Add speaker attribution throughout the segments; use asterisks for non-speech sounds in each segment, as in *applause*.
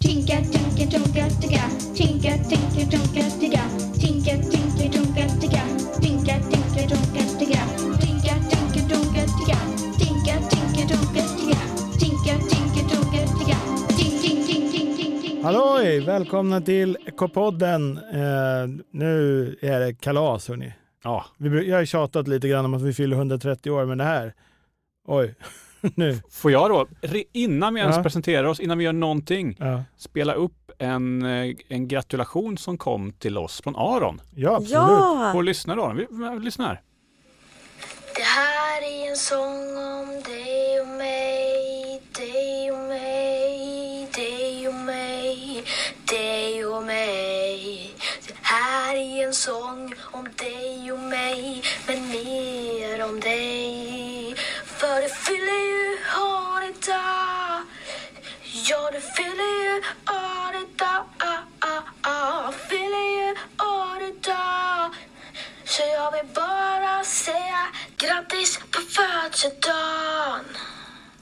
Speaker 1: Tinka, tinka, tonka, ticka. Tinka, tinka, tonka, ticka. Tinka, tinka, tonka, ticka. Tinka, tinka, tonka, ticka. Tinka, tinka, tonka, ticka. Tinka, tinka, tonka, ticka. Tinka, tinka, tonka, ticka. Tink, tink, tink, tink, tink, tink.
Speaker 2: Halloj! Välkomna till K-podden. Eh, nu är det kalas hörni.
Speaker 3: Ja,
Speaker 2: Vi, bru- jag har tjatat lite grann om att vi fyller 130 år, men det här... Oj, *laughs* nu.
Speaker 3: får jag då, re- innan vi ens
Speaker 2: Ja.
Speaker 3: presenterar oss, innan vi gör någonting,
Speaker 2: Ja,
Speaker 3: spela upp en, eh, en gratulation som kom till oss från Aron.
Speaker 2: ja absolut.
Speaker 3: Vår
Speaker 4: Ja!
Speaker 3: lyssnare Aron, vi, vi lyssnar.
Speaker 5: Det här är en sång om dig och mig, dig och mig, dig och mig, dig och mig. Det här är en sång om dig och mig, men mer om dig. För du fyller ju år idag. Ja, du fyller ju år idag. ah, Fyller ju år idag. Så jag vill bara säga grattis på födelsedagen.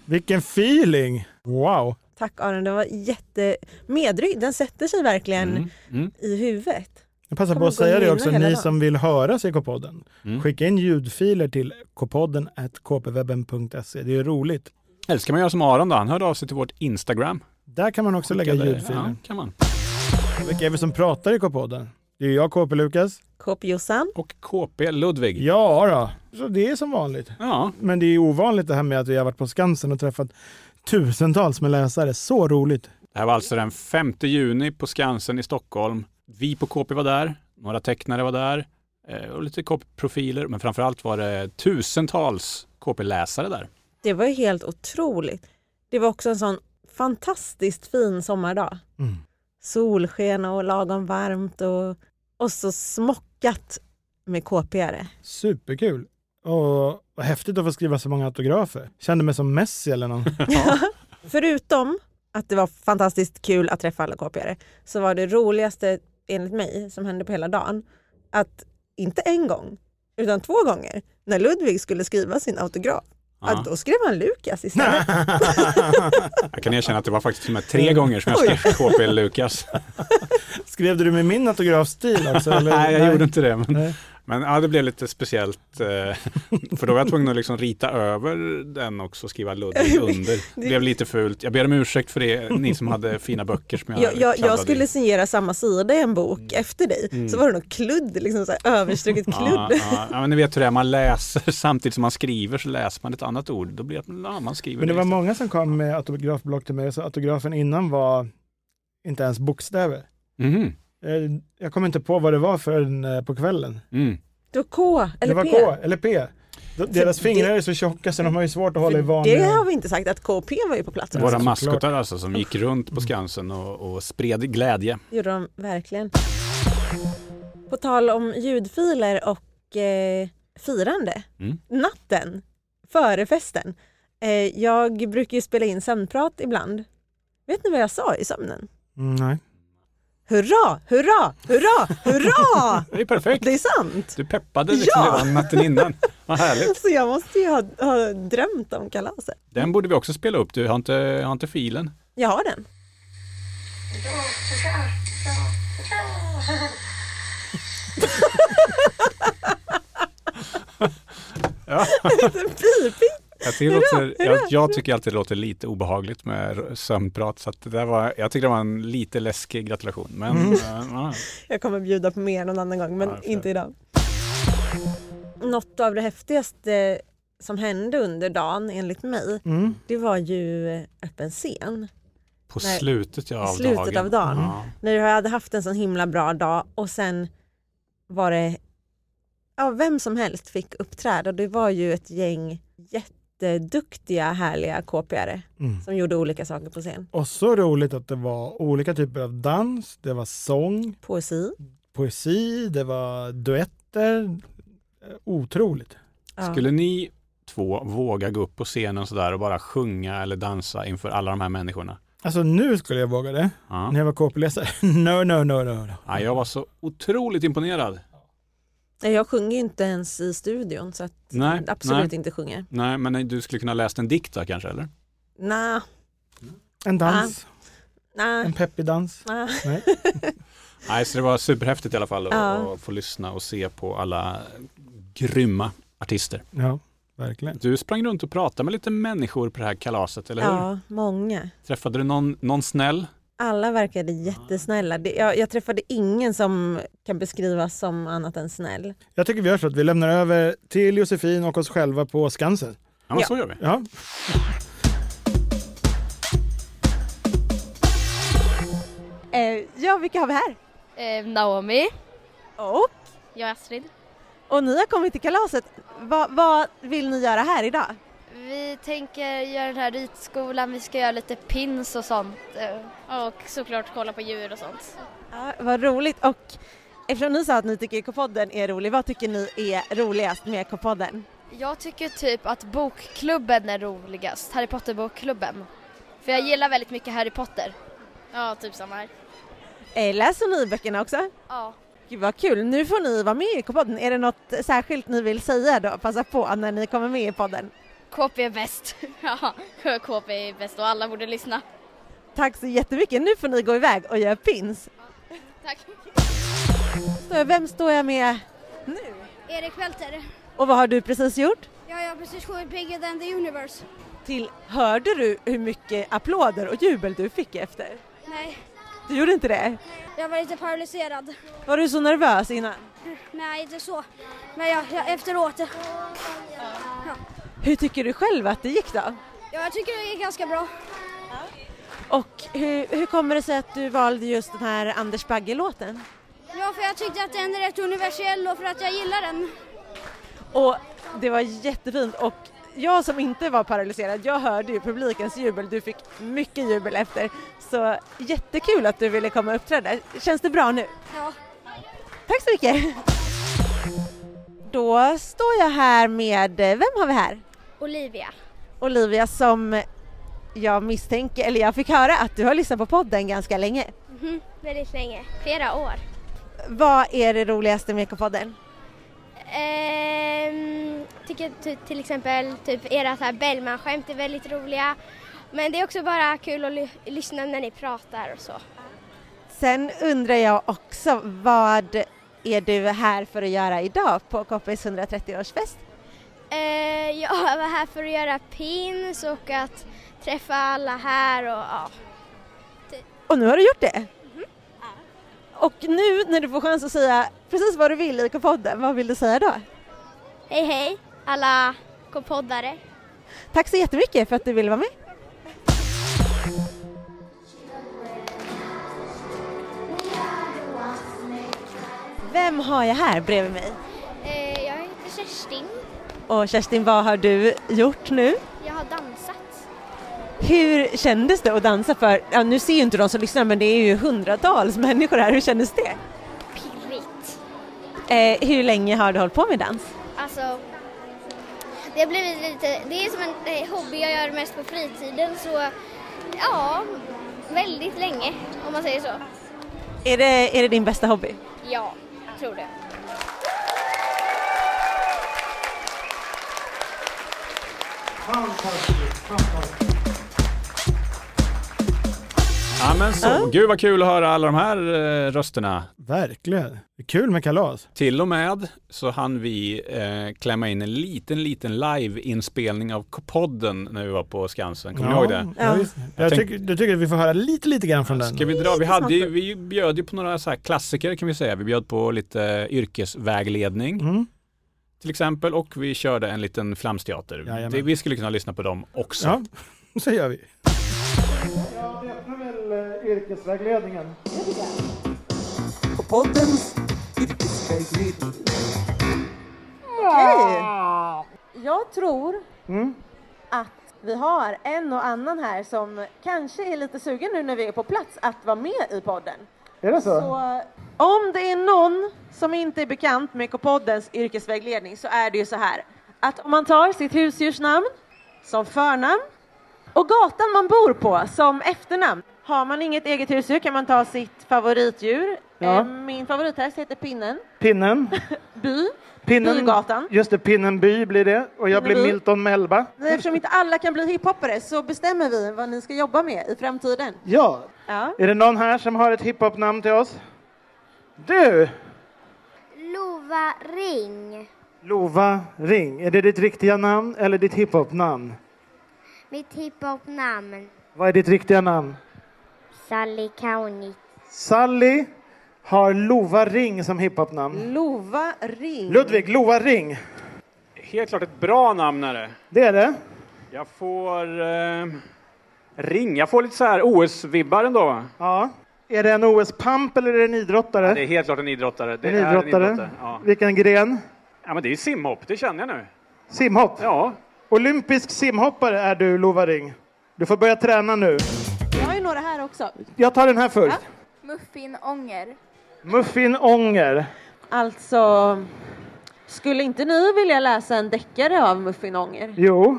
Speaker 2: Vilken feeling! Wow!
Speaker 4: Tack Aron, det var jätte... Medryck, den sätter sig verkligen
Speaker 2: Mm,
Speaker 4: i huvudet.
Speaker 2: Jag passar på
Speaker 4: Kommer
Speaker 2: att
Speaker 4: gå och
Speaker 2: säga det
Speaker 4: nynna
Speaker 2: också,
Speaker 4: hela
Speaker 2: ni
Speaker 4: dagen.
Speaker 2: som vill höra CK-podden. Skicka in ljudfiler till kpodden at kpwebben.se. Det är roligt.
Speaker 3: Eller ska man göra som Aron då, han hörde av sig till vårt Instagram.
Speaker 2: Där kan man också lägga
Speaker 3: Eller-
Speaker 2: ljudfiler.
Speaker 3: Ja, kan man.
Speaker 2: Vilka är vi som pratar i K-podden? Det är jag, KP Lukas.
Speaker 4: Kåpjossan.
Speaker 3: Och KP Ludvig.
Speaker 2: Ja då. så det är som vanligt.
Speaker 3: Ja,
Speaker 2: Men det är ju ovanligt det här med att vi har varit på Skansen och träffat tusentals med läsare. Så roligt!
Speaker 3: det här var alltså den 5 juni på Skansen i Stockholm. Vi på KP var där, några tecknare var där eh, och lite KP-profiler, men framför allt var det tusentals KP-läsare där.
Speaker 4: Det var ju helt otroligt. Det var också en sån fantastiskt fin sommardag.
Speaker 2: Mm.
Speaker 4: Solsken och lagom varmt och, och så smockat med KP-are.
Speaker 2: Superkul! Och vad häftigt att få skriva så många autografer. Kände mig som Messi eller
Speaker 3: *laughs*
Speaker 2: någon.
Speaker 4: Förutom att det var fantastiskt kul att träffa alla KP-are så var det roligaste enligt mig som hände på hela dagen att inte en gång utan två gånger när Ludvig skulle skriva sin autograf
Speaker 3: Ja.
Speaker 4: att då skrev han
Speaker 3: *laughs*
Speaker 4: Lukas istället.
Speaker 3: Jag kan erkänna att det var faktiskt till och med tre gånger som jag skrev KP Lukas.
Speaker 2: Skrev du med min autografstil också? Eller?
Speaker 3: *laughs* Nej, jag gjorde inte det. Men,
Speaker 2: Nej.
Speaker 3: men ja, det blev lite speciellt. eh, För då var jag tvungen att liksom rita över den också och skriva Ludvig under. *laughs* Det blev lite fult. Jag ber om ursäkt för det, ni som hade fina böcker som jag
Speaker 4: Jag, jag, jag
Speaker 3: kladdade i.
Speaker 4: skulle signera samma sida i en bok efter dig så var det nog kludd, liksom så här överstruket
Speaker 3: Mm. *laughs* Ja,
Speaker 4: kludd.
Speaker 3: ja, ja, men ni vet hur det är, man läser *laughs* samtidigt som man skriver så läser man ett annat ord. Då blir det att ja, man skriver
Speaker 2: Men det var
Speaker 3: istället.
Speaker 2: många som kom med autografblock till mig, så autografen innan var inte ens bokstäver.
Speaker 3: Mhm,
Speaker 2: Eh, Jag kom inte på vad det var förrän eh, på kvällen.
Speaker 3: mm.
Speaker 4: Du har K
Speaker 2: det
Speaker 4: eller
Speaker 2: var
Speaker 4: P.
Speaker 2: K eller P. De- Deras
Speaker 4: det-
Speaker 2: fingrar är så tjocka så de har ju svårt att hålla i
Speaker 4: Det
Speaker 2: vanliga...
Speaker 4: har vi inte sagt att KP var ju på plats.
Speaker 3: Våra
Speaker 2: såklart.
Speaker 3: maskotar alltså som gick runt på Skansen och, och spred glädje.
Speaker 4: Det gjorde de verkligen. På tal om ljudfiler och eh, firande.
Speaker 3: Mm.
Speaker 4: Natten före festen. Eh, jag brukar ju spela in sömnprat ibland. Vet ni vad jag sa i sömnen?
Speaker 2: Mm, nej.
Speaker 4: Hurra, hurra, hurra, hurra!
Speaker 3: *laughs* Det är perfekt.
Speaker 4: Det är sant!
Speaker 3: Du peppade liksom
Speaker 4: Ja!
Speaker 3: redan natten innan. Vad härligt.
Speaker 4: Så jag måste ju ha, ha drömt om kalaset.
Speaker 3: Den borde vi också spela upp. Du har inte, har inte filen.
Speaker 4: Jag har den.
Speaker 3: Ja.
Speaker 4: Den pipig.
Speaker 3: Jag, tycker det låter, jag, jag tycker alltid det låter lite obehagligt med r- sömnprat. Så att det där var, jag tycker det var en lite läskig gratulation. Men
Speaker 4: Mm.
Speaker 3: eh, ja.
Speaker 4: Jag kommer bjuda på mer någon annan gång, men
Speaker 3: Ja, för-
Speaker 4: inte idag. Något av det häftigaste som hände under dagen, enligt mig,
Speaker 2: Mm.
Speaker 4: det var ju öppen scen.
Speaker 3: på
Speaker 4: Nej.
Speaker 3: slutet ja, av
Speaker 4: I slutet
Speaker 3: dagen.
Speaker 4: av dagen.
Speaker 3: Ja.
Speaker 4: När jag hade haft en sån himla bra dag och sen var det, ja vem som helst fick uppträda. Det var ju ett gäng jätteduktiga, härliga KPare
Speaker 2: Mm.
Speaker 4: som gjorde olika saker på scen.
Speaker 2: Och så roligt att det var olika typer av dans, det var sång,
Speaker 4: Poesi.
Speaker 2: poesi, det var duetter. Eh, Otroligt.
Speaker 4: Ja.
Speaker 3: Skulle ni två våga gå upp på scenen sådär och bara sjunga eller dansa inför alla de här människorna?
Speaker 2: Alltså nu skulle jag våga det,
Speaker 3: Ja.
Speaker 2: när jag var KP-läsare. *laughs* no, no, no, no, no.
Speaker 3: Ja, jag var så otroligt imponerad.
Speaker 4: Nej, Jag sjunger ju inte ens i studion så att
Speaker 3: Nej,
Speaker 4: absolut
Speaker 3: nej,
Speaker 4: inte sjunger.
Speaker 3: nej, men du skulle kunna läst en dikt där kanske, eller?
Speaker 4: Nej,
Speaker 2: En dans.
Speaker 4: Nej.
Speaker 2: En peppig dans?
Speaker 4: nej.
Speaker 2: Nej.
Speaker 3: Nej, så det var superhäftigt i alla fall att
Speaker 4: Ja.
Speaker 3: att få lyssna och se på alla grymma artister.
Speaker 2: Ja, verkligen.
Speaker 3: Du sprang runt och pratade med lite människor på det här kalaset, eller hur?
Speaker 4: Ja, många.
Speaker 3: Träffade du någon, någon snäll?
Speaker 4: Alla verkade jättesnälla. Det, jag, jag träffade ingen som kan beskrivas som annat än snäll.
Speaker 2: Jag tycker vi gör så att vi lämnar över till Josefin och oss själva på Skansen.
Speaker 3: Ja, men
Speaker 4: Ja.
Speaker 3: så gör vi.
Speaker 2: Ja.
Speaker 4: ja, vilka har vi här?
Speaker 6: Eh, Naomi.
Speaker 4: Och,
Speaker 6: Jag är Astrid.
Speaker 4: och ni har kommit till kalaset. Va, vad vill ni göra här idag?
Speaker 6: Vi tänker göra den här ritskolan, vi ska göra lite pins och sånt. Och såklart kolla på djur och sånt.
Speaker 4: Ja, vad roligt. Och eftersom ni sa att ni tycker K-podden är rolig, vad tycker ni är roligast med K-podden?
Speaker 6: Jag tycker typ att bokklubben är roligast, Harry Potter-bokklubben. För jag gillar väldigt mycket Harry Potter. Ja, typ samma här.
Speaker 4: Eh, läser ni böckerna också?
Speaker 6: Ja.
Speaker 4: Gud vad kul, nu får ni vara med i K-podden. Är det något särskilt ni vill säga då? Passa på när ni kommer med i podden.
Speaker 6: KP är bäst. *laughs* ja, KP är bäst och alla borde lyssna.
Speaker 4: Tack så jättemycket, nu får ni gå iväg och göra pins.
Speaker 6: Tack.
Speaker 4: Så Vem står jag med nu?
Speaker 7: Erik Welter.
Speaker 4: Och vad har du precis gjort?
Speaker 7: Ja, jag har precis sjungit Bigger than the universe.
Speaker 4: Till, hörde du hur mycket applåder och jubel du fick efter?
Speaker 7: Nej,
Speaker 4: Du gjorde inte det?
Speaker 7: jag var lite paralyserad.
Speaker 4: Var du så nervös innan?
Speaker 7: Nej, inte så. Men jag, jag, efteråt.
Speaker 4: Hur tycker du själv att det gick då?
Speaker 7: Ja, jag tycker det är ganska bra.
Speaker 4: Och hur, hur kommer det sig att du valde just den här Anders Bagge-låten?
Speaker 7: Ja, för jag tyckte att den är rätt universell och för att jag gillar den.
Speaker 4: Och det var jättefint och jag som inte var paralyserad, jag hörde ju publikens jubel, du fick mycket jubel efter. Så jättekul att du ville komma och uppträda. Känns det bra nu?
Speaker 7: Ja.
Speaker 4: Tack så mycket! Då står jag här med, eh, vem har vi här?
Speaker 7: Olivia.
Speaker 4: Olivia som jag misstänker, eller jag fick höra att du har lyssnat på podden ganska länge.
Speaker 7: Mhm, väldigt länge. Flera år.
Speaker 4: Vad är det roligaste med K-podden?
Speaker 7: Ehm, tycker ty- till exempel typ era så här Bellman-skämt är väldigt roliga. Men det är också bara kul att ly- lyssna när ni pratar och så.
Speaker 4: Sen undrar jag också, vad är du här för att göra idag på KPs 130-årsfest?
Speaker 7: Eh, *laughs* jag var här för att göra pins och att träffa alla här och ja.
Speaker 4: Och nu har du gjort det? Och nu när du får chans att säga precis vad du vill i K-podden, vad vill du säga då?
Speaker 7: Hej hej alla K-poddare.
Speaker 4: Tack så jättemycket för att du ville vara med. Vem har jag här bredvid mig?
Speaker 7: Eh, jag heter Kerstin.
Speaker 4: Och Kerstin, vad har du gjort nu?
Speaker 7: Jag har dansat.
Speaker 4: Hur kändes det att dansa för, ja, nu ser ju inte de som lyssnar men det är ju hundratals människor här, hur kändes det?
Speaker 7: Pirrigt.
Speaker 4: Eh, hur länge har du hållit på med dans?
Speaker 7: Alltså, det har blivit lite, det är som en eh, hobby jag gör mest på fritiden så ja, väldigt länge om man säger så.
Speaker 4: Är det, är det din bästa hobby?
Speaker 7: Ja, jag tror det.
Speaker 3: Ja, men så.
Speaker 4: Ja.
Speaker 3: Gud vad kul att höra alla de här eh, rösterna.
Speaker 2: Verkligen. Kul med kalas.
Speaker 3: Till och med så hann vi eh, klämma in en liten, liten live-inspelning av podden när vi var på Skansen. Kommer ni ihåg det?
Speaker 2: Ja, just det. Jag,
Speaker 3: tänk-
Speaker 2: tycker, jag tycker att vi får höra lite, lite grann från den.
Speaker 3: Ska vi dra? Vi, hade, ju- vi bjöd ju på några så här klassiker kan vi säga. Vi bjöd på lite eh, yrkesvägledning
Speaker 2: Mm.
Speaker 3: till exempel och vi körde en liten flamsteater.
Speaker 2: Jajamän.
Speaker 3: Det, vi skulle kunna lyssna på dem också.
Speaker 2: Ja, *laughs* så gör vi.
Speaker 4: Okej. Jag tror
Speaker 2: Mm.
Speaker 4: att vi har en och annan här som kanske är lite sugen nu när vi är på plats att vara med i podden.
Speaker 2: Är det
Speaker 4: Så om det är någon som inte är bekant med K-poddens yrkesvägledning så är det ju så här att om man tar sitt husdjursnamn som förnamn och gatan man bor på som efternamn. Har man inget eget husdjur kan man ta sitt favoritdjur
Speaker 8: Ja.
Speaker 4: Eh, Min favorithäst heter Pinnen.
Speaker 2: Pinnen.
Speaker 4: *laughs* By.
Speaker 2: Pinnen.
Speaker 4: Bygatan.
Speaker 2: Just det, Pinnen by blir det. Och jag blir
Speaker 4: Pinnenby.
Speaker 2: Milton Melba.
Speaker 4: Men Eftersom inte alla kan bli hiphoppare så bestämmer vi vad ni ska jobba med i framtiden.
Speaker 2: Ja,
Speaker 4: Ja.
Speaker 2: är det någon här som har ett hiphop-namn till oss? Du!
Speaker 7: Lova Ring.
Speaker 2: Lova Ring. Är det ditt riktiga namn eller ditt hiphop-namn?
Speaker 7: Mitt hiphop-namn.
Speaker 2: Vad är ditt riktiga namn?
Speaker 7: Sally Kauni.
Speaker 2: Sally har Lova Ring som hiphop-namn.
Speaker 4: Lova Ring.
Speaker 2: Ludvig, Lova Ring.
Speaker 3: Helt klart ett bra namn är det.
Speaker 2: Det är det.
Speaker 3: Jag får eh, ring. Jag får lite så här OS-vibbar ändå.
Speaker 2: Ja. Är det en OS-pamp eller är det en idrottare?
Speaker 3: Det är helt klart en idrottare. Det
Speaker 2: en,
Speaker 3: är
Speaker 2: idrottare.
Speaker 3: en idrottare. Ja.
Speaker 2: Vilken gren?
Speaker 3: ja, men det är simhopp. Det känner jag nu.
Speaker 2: Simhopp.
Speaker 3: Ja,
Speaker 2: Olympisk simhoppare är du, Lova Ring. Du får börja träna nu.
Speaker 4: Jag har ju några här också.
Speaker 2: Jag tar den här först.
Speaker 6: Muffin Ånger.
Speaker 2: Muffin Ånger.
Speaker 4: Alltså, skulle inte ni vilja läsa en deckare av Muffin Ånger?
Speaker 2: Jo.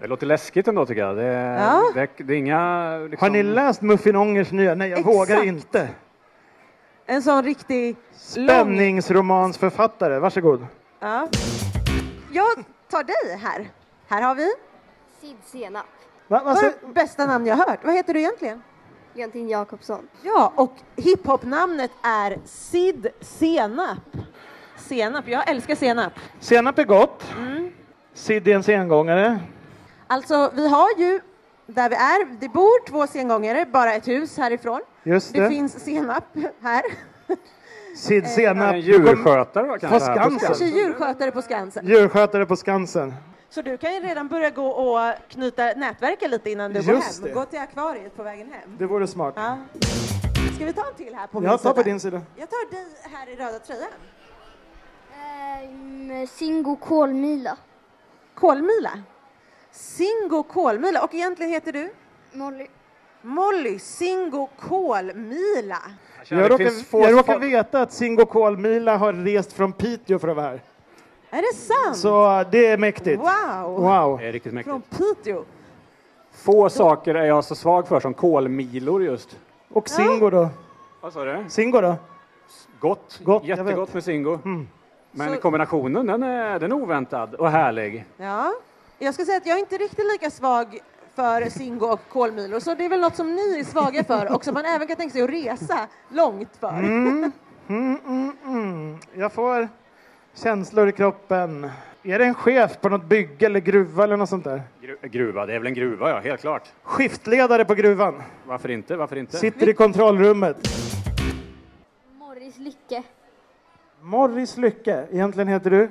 Speaker 3: det låter läskigt ändå tycker jag. Det,
Speaker 4: Ja.
Speaker 3: det, det är inga... Liksom,
Speaker 2: Har ni läst Muffin Ångers nya? Nej, jag
Speaker 4: Exakt.
Speaker 2: vågar inte.
Speaker 4: En sån riktig lång...
Speaker 2: Spänningsromansförfattare, varsågod.
Speaker 4: Ja. Jag tar dig här. Här har vi
Speaker 6: Sid Senap.
Speaker 2: Va, va, så,
Speaker 4: Vad- bästa namn jag hört. Vad heter du egentligen?
Speaker 6: Jontin Jakobsson.
Speaker 4: Ja, och hiphop-namnet är Sid Senap. Senap, jag älskar senap.
Speaker 2: senap är gott.
Speaker 4: Mm.
Speaker 2: Siddi är en sengångare.
Speaker 4: Alltså, vi har ju där vi är, det bor två sengångare, bara ett hus härifrån.
Speaker 2: Just
Speaker 4: Det
Speaker 2: det.
Speaker 4: finns eh, senap här.
Speaker 2: Sid senap.
Speaker 3: En
Speaker 2: Du kom-
Speaker 3: djurskötare va, kanske?
Speaker 2: På
Speaker 3: här på
Speaker 4: *laughs*
Speaker 2: Skansen.
Speaker 4: Kanske djurskötare på Skansen.
Speaker 2: Djurskötare på Skansen.
Speaker 4: Så du kan ju redan börja gå och knyta nätverka lite innan du går hem.
Speaker 2: Just det.
Speaker 4: Gå till akvariet på vägen hem.
Speaker 2: Det vore smart.
Speaker 4: Ja. Ska vi ta en till här på min
Speaker 2: Jag tar på
Speaker 4: sida?
Speaker 2: din sida.
Speaker 4: Jag tar dig här i röda tröjan.
Speaker 7: Singo Ehm, Kolmila.
Speaker 4: Kolmila. Singo Kolmila. Och egentligen heter du?
Speaker 7: Molly.
Speaker 4: Molly Singo Kolmila.
Speaker 3: Kanske.
Speaker 2: Jag
Speaker 3: Det
Speaker 2: råkar,
Speaker 3: finns få
Speaker 2: jag
Speaker 3: folk-
Speaker 2: råkar veta att Singo Kolmila har rest från Piteå för att vara här.
Speaker 4: Är det sant?
Speaker 2: Så eh, det är mäktigt.
Speaker 4: Wow!
Speaker 2: Wow.
Speaker 3: Det är riktigt
Speaker 4: Från
Speaker 3: mäktigt.
Speaker 4: Piteå.
Speaker 3: Få saker är jag så svag för som kolmilor just.
Speaker 2: Och Singo då?
Speaker 3: Vad sa du?
Speaker 2: Singo då?
Speaker 3: Gott.
Speaker 2: Gott, jag
Speaker 3: Jättegott
Speaker 2: vet. Mm.
Speaker 3: med Singo. Men kombinationen den är, den är oväntad och härlig.
Speaker 4: Ja. Jag ska säga att jag är inte riktigt lika svag för Singo och kolmilor, så det är väl något som ni är svaga för och som man även kan tänka sig att resa långt för.
Speaker 2: Mm, mm, mm. Jag får känslor i kroppen. Är det en chef på något bygge eller gruva eller något sånt där?
Speaker 3: Gru, gruva, det är väl en gruva ja, helt klart.
Speaker 2: Skiftledare på gruvan.
Speaker 3: Varför inte? Varför inte?
Speaker 2: Sitter i kontrollrummet.
Speaker 7: Morris Lycke.
Speaker 2: Morris Lycke. Egentligen heter du?
Speaker 7: Eh,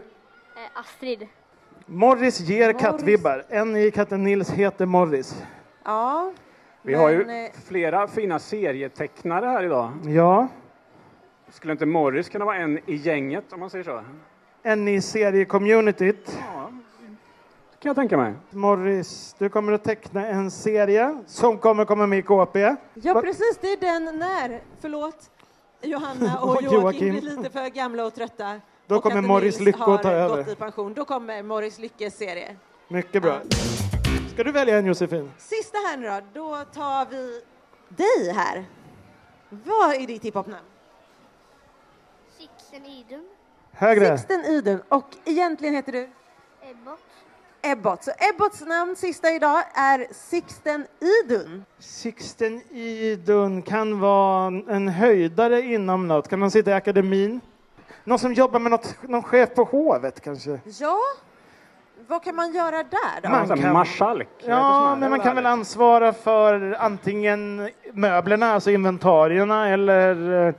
Speaker 7: Astrid.
Speaker 2: Morris ger kattvibbar. En i katten Nils heter Morris.
Speaker 4: Ja.
Speaker 3: Vi har
Speaker 4: Men,
Speaker 3: ju
Speaker 4: eh,
Speaker 3: flera fina serietecknare här idag.
Speaker 2: Ja.
Speaker 3: Skulle inte Morris kunna vara en i gänget om man säger så?
Speaker 2: En i seriecommunityt.
Speaker 3: kan jag tänka mig.
Speaker 2: Morris, du kommer att teckna en serie som kommer komma med i KP.
Speaker 4: Ja, precis. Det är den när, förlåt, Johanna
Speaker 2: *laughs*
Speaker 4: och
Speaker 2: Och
Speaker 4: Joakim,
Speaker 2: Joakim.
Speaker 4: blir lite för gamla och trötta.
Speaker 2: Då
Speaker 4: och
Speaker 2: kommer
Speaker 4: att
Speaker 2: Morris
Speaker 4: Nils
Speaker 2: Lycke att ta
Speaker 4: har
Speaker 2: över.
Speaker 4: gått i pension. Då kommer Morris Lyckes serie.
Speaker 2: Mycket bra. Ska du välja en Josefin?
Speaker 4: Sista här nu då, då tar vi dig här. Vad är ditt hiphopnamn?
Speaker 7: Sixten Idun.
Speaker 2: Högre.
Speaker 4: Sixten Idun och egentligen heter du?
Speaker 7: Ebbot.
Speaker 4: Ebbot. Så Ebbots namn sista idag är Sixten Idun.
Speaker 2: Sixten Idun kan vara en höjdare inom något. Kan han sitta i akademin? Någon som jobbar med något, någon chef på hovet kanske?
Speaker 4: Ja, vad kan man göra där då?
Speaker 2: Man
Speaker 3: Man
Speaker 2: kan-
Speaker 3: kan... Marskalk.
Speaker 2: Ja, men man kan väl ansvara för antingen möblerna, alltså inventarierna, eller eh,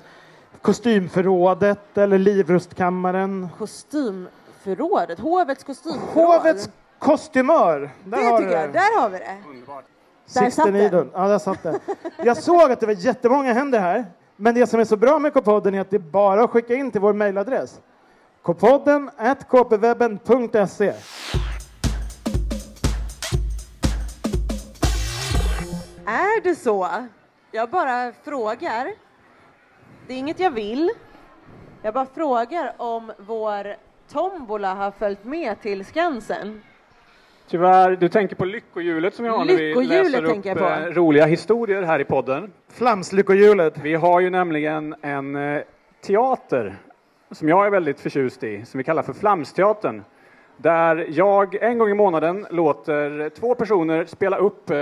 Speaker 2: kostymförrådet eller livrustkammaren.
Speaker 4: Kostymförrådet, hovets kostymförråd.
Speaker 2: Hovets kostymör! Där
Speaker 4: det
Speaker 2: har
Speaker 4: tycker jag,
Speaker 2: du det.
Speaker 4: där har vi det. Där satt
Speaker 2: Sixten
Speaker 4: den.
Speaker 2: Idun. Ja, där satt den. Jag såg att det var jättemånga händer här. Men det som är så bra med K-podden är att det är bara att skicka in till vår mejladress. K-podden at kpwebben.se
Speaker 4: Är det så? Jag bara frågar. Det är inget jag vill. Jag bara frågar om vår tombola har följt med till Skansen.
Speaker 3: Tyvärr, du tänker på lyckohjulet som jag har när vi
Speaker 4: Lyckohjulet
Speaker 3: läser upp
Speaker 4: tänker jag på.
Speaker 3: eh, roliga historier här i podden.
Speaker 2: Flamslyckohjulet.
Speaker 3: Vi har ju nämligen en eh, teater som jag är väldigt förtjust i, som vi kallar för Flamsteatern. Där jag en gång i månaden låter två personer spela upp eh,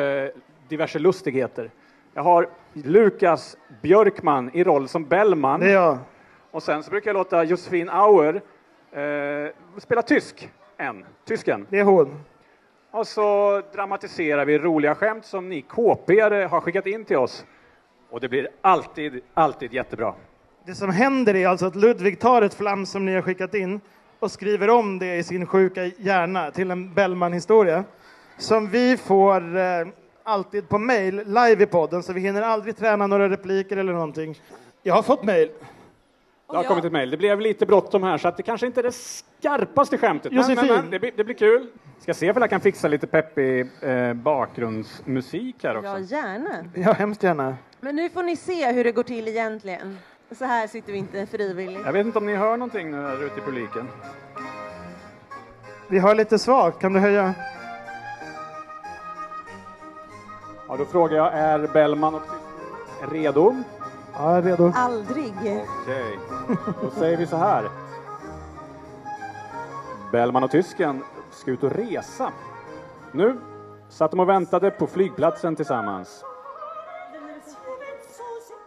Speaker 3: diverse lustigheter. Jag har Lukas Björkman i roll som Bellman.
Speaker 2: Det är jag.
Speaker 3: Och sen så brukar jag låta Josefin Auer eh, spela tysk, en, tysken.
Speaker 2: Det är hon.
Speaker 3: Och så dramatiserar vi roliga skämt som ni kp har skickat in till oss. Och det blir alltid, alltid jättebra.
Speaker 2: Det som händer är alltså att Ludvig tar ett flams som ni har skickat in och skriver om det i sin sjuka hjärna till en Bellman-historia som vi får eh, alltid på mail live i podden så vi hinner aldrig träna några repliker eller någonting. Jag har fått mail.
Speaker 3: Det har kommit ett mejl. Det blev lite bråttom här så att det kanske inte är det skarpaste skämtet. Men, men,
Speaker 2: Josefin.
Speaker 3: men det, blir, det blir kul. Ska se om jag kan fixa lite peppig eh, bakgrundsmusik här också.
Speaker 9: Ja, gärna.
Speaker 2: Ja, hemskt gärna.
Speaker 9: Men nu får ni se hur det går till egentligen. Så här sitter vi inte frivilligt.
Speaker 3: Jag vet inte om ni hör någonting nu här ute i publiken.
Speaker 2: Vi har lite svagt. Kan du höja?
Speaker 3: Ja, då frågar jag, är Bellman och redo?
Speaker 2: Ja, jag är redo.
Speaker 9: Aldrig.
Speaker 3: Okej, då säger vi så här. Bellman och tysken ska ut och resa. Nu satt de och väntade på flygplatsen tillsammans.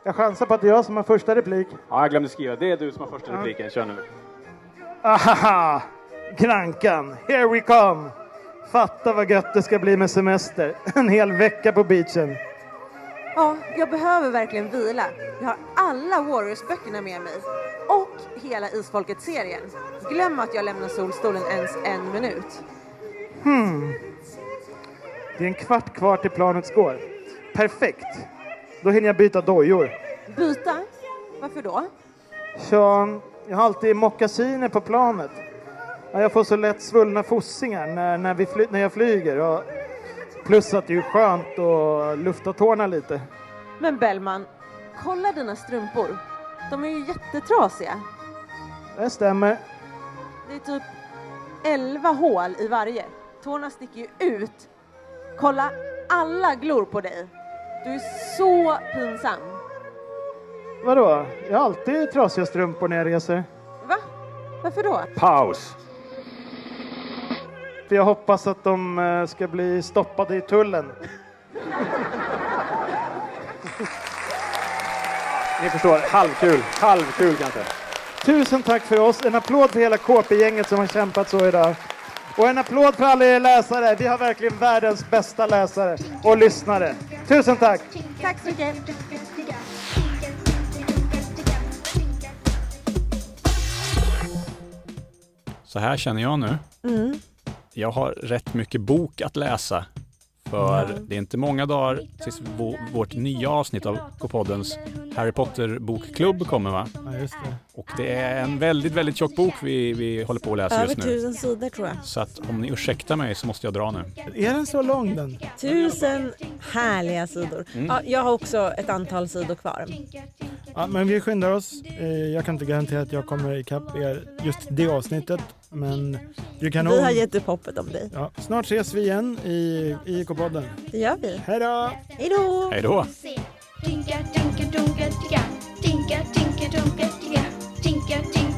Speaker 2: Jag chansar på att det är jag som har första replik.
Speaker 3: Ja, jag glömde skriva. Det är du som har första repliken. Kör nu.
Speaker 2: Ahaha! Grankan, here we come! Fatta vad gött det ska bli med semester. En hel vecka på beachen.
Speaker 9: Ja, jag behöver verkligen vila. Jag har alla Warriors-böckerna med mig. Och hela Isfolket-serien. Glöm att jag lämnar solstolen ens en minut.
Speaker 2: Det är en kvart kvar till planets går. Perfekt! Då hinner jag byta dojor.
Speaker 9: Byta? Varför då?
Speaker 2: Så jag har alltid mockasiner på planet. Ja, Jag får så lätt svullna fossingar när, när, vi fly, när jag flyger. Och plus att det är skönt att lufta tårna lite.
Speaker 9: Men Bellman, kolla dina strumpor. De är ju jättetrasiga.
Speaker 2: Det stämmer.
Speaker 9: Det är typ 11 hål i varje. Tårna sticker ju ut. Kolla, alla glor på dig. Du är så pinsam.
Speaker 2: Vadå? Jag har alltid trasiga strumpor när jag reser.
Speaker 9: Va? Varför då?
Speaker 3: Paus.
Speaker 2: För jag hoppas att de eh, ska bli stoppade i tullen.
Speaker 3: Ni förstår, halvkul. Halvkul kanske.
Speaker 2: Tusen tack för oss. En applåd för hela KP-gänget som har kämpat så idag. Och en applåd för alla er läsare. Vi har verkligen världens bästa läsare och lyssnare. Tusen tack!
Speaker 9: Tack så mycket.
Speaker 3: Så här känner jag nu. Jag har rätt mycket bok att läsa. För det är inte många dagar tills vå- vårt nya avsnitt av K-poddens Harry Potter-bokklubb kommer va? Och det är en väldigt, väldigt tjock bok vi, vi håller på att läsa
Speaker 4: Över
Speaker 3: just nu.
Speaker 4: tusen sidor tror jag.
Speaker 3: Så att om ni ursäktar mig så måste jag dra nu.
Speaker 2: Är den så lång den?
Speaker 4: Tusen härliga sidor. Ja, jag har också ett antal sidor kvar.
Speaker 10: Ja, men vi skyndar oss. Eh, Jag kan inte garantera att jag kommer ikapp er just det avsnittet, men du kan
Speaker 4: Vi har gett upp hoppet om dig.
Speaker 10: ja, Snart ses vi igen i IK-podden.
Speaker 4: Det gör vi.
Speaker 10: Hej då!
Speaker 4: Hej då!
Speaker 3: Hej då!
Speaker 1: Tinka, tinka, dunka, ticka. Tinka, tinka, dunka, ticka. Tinka, tinka,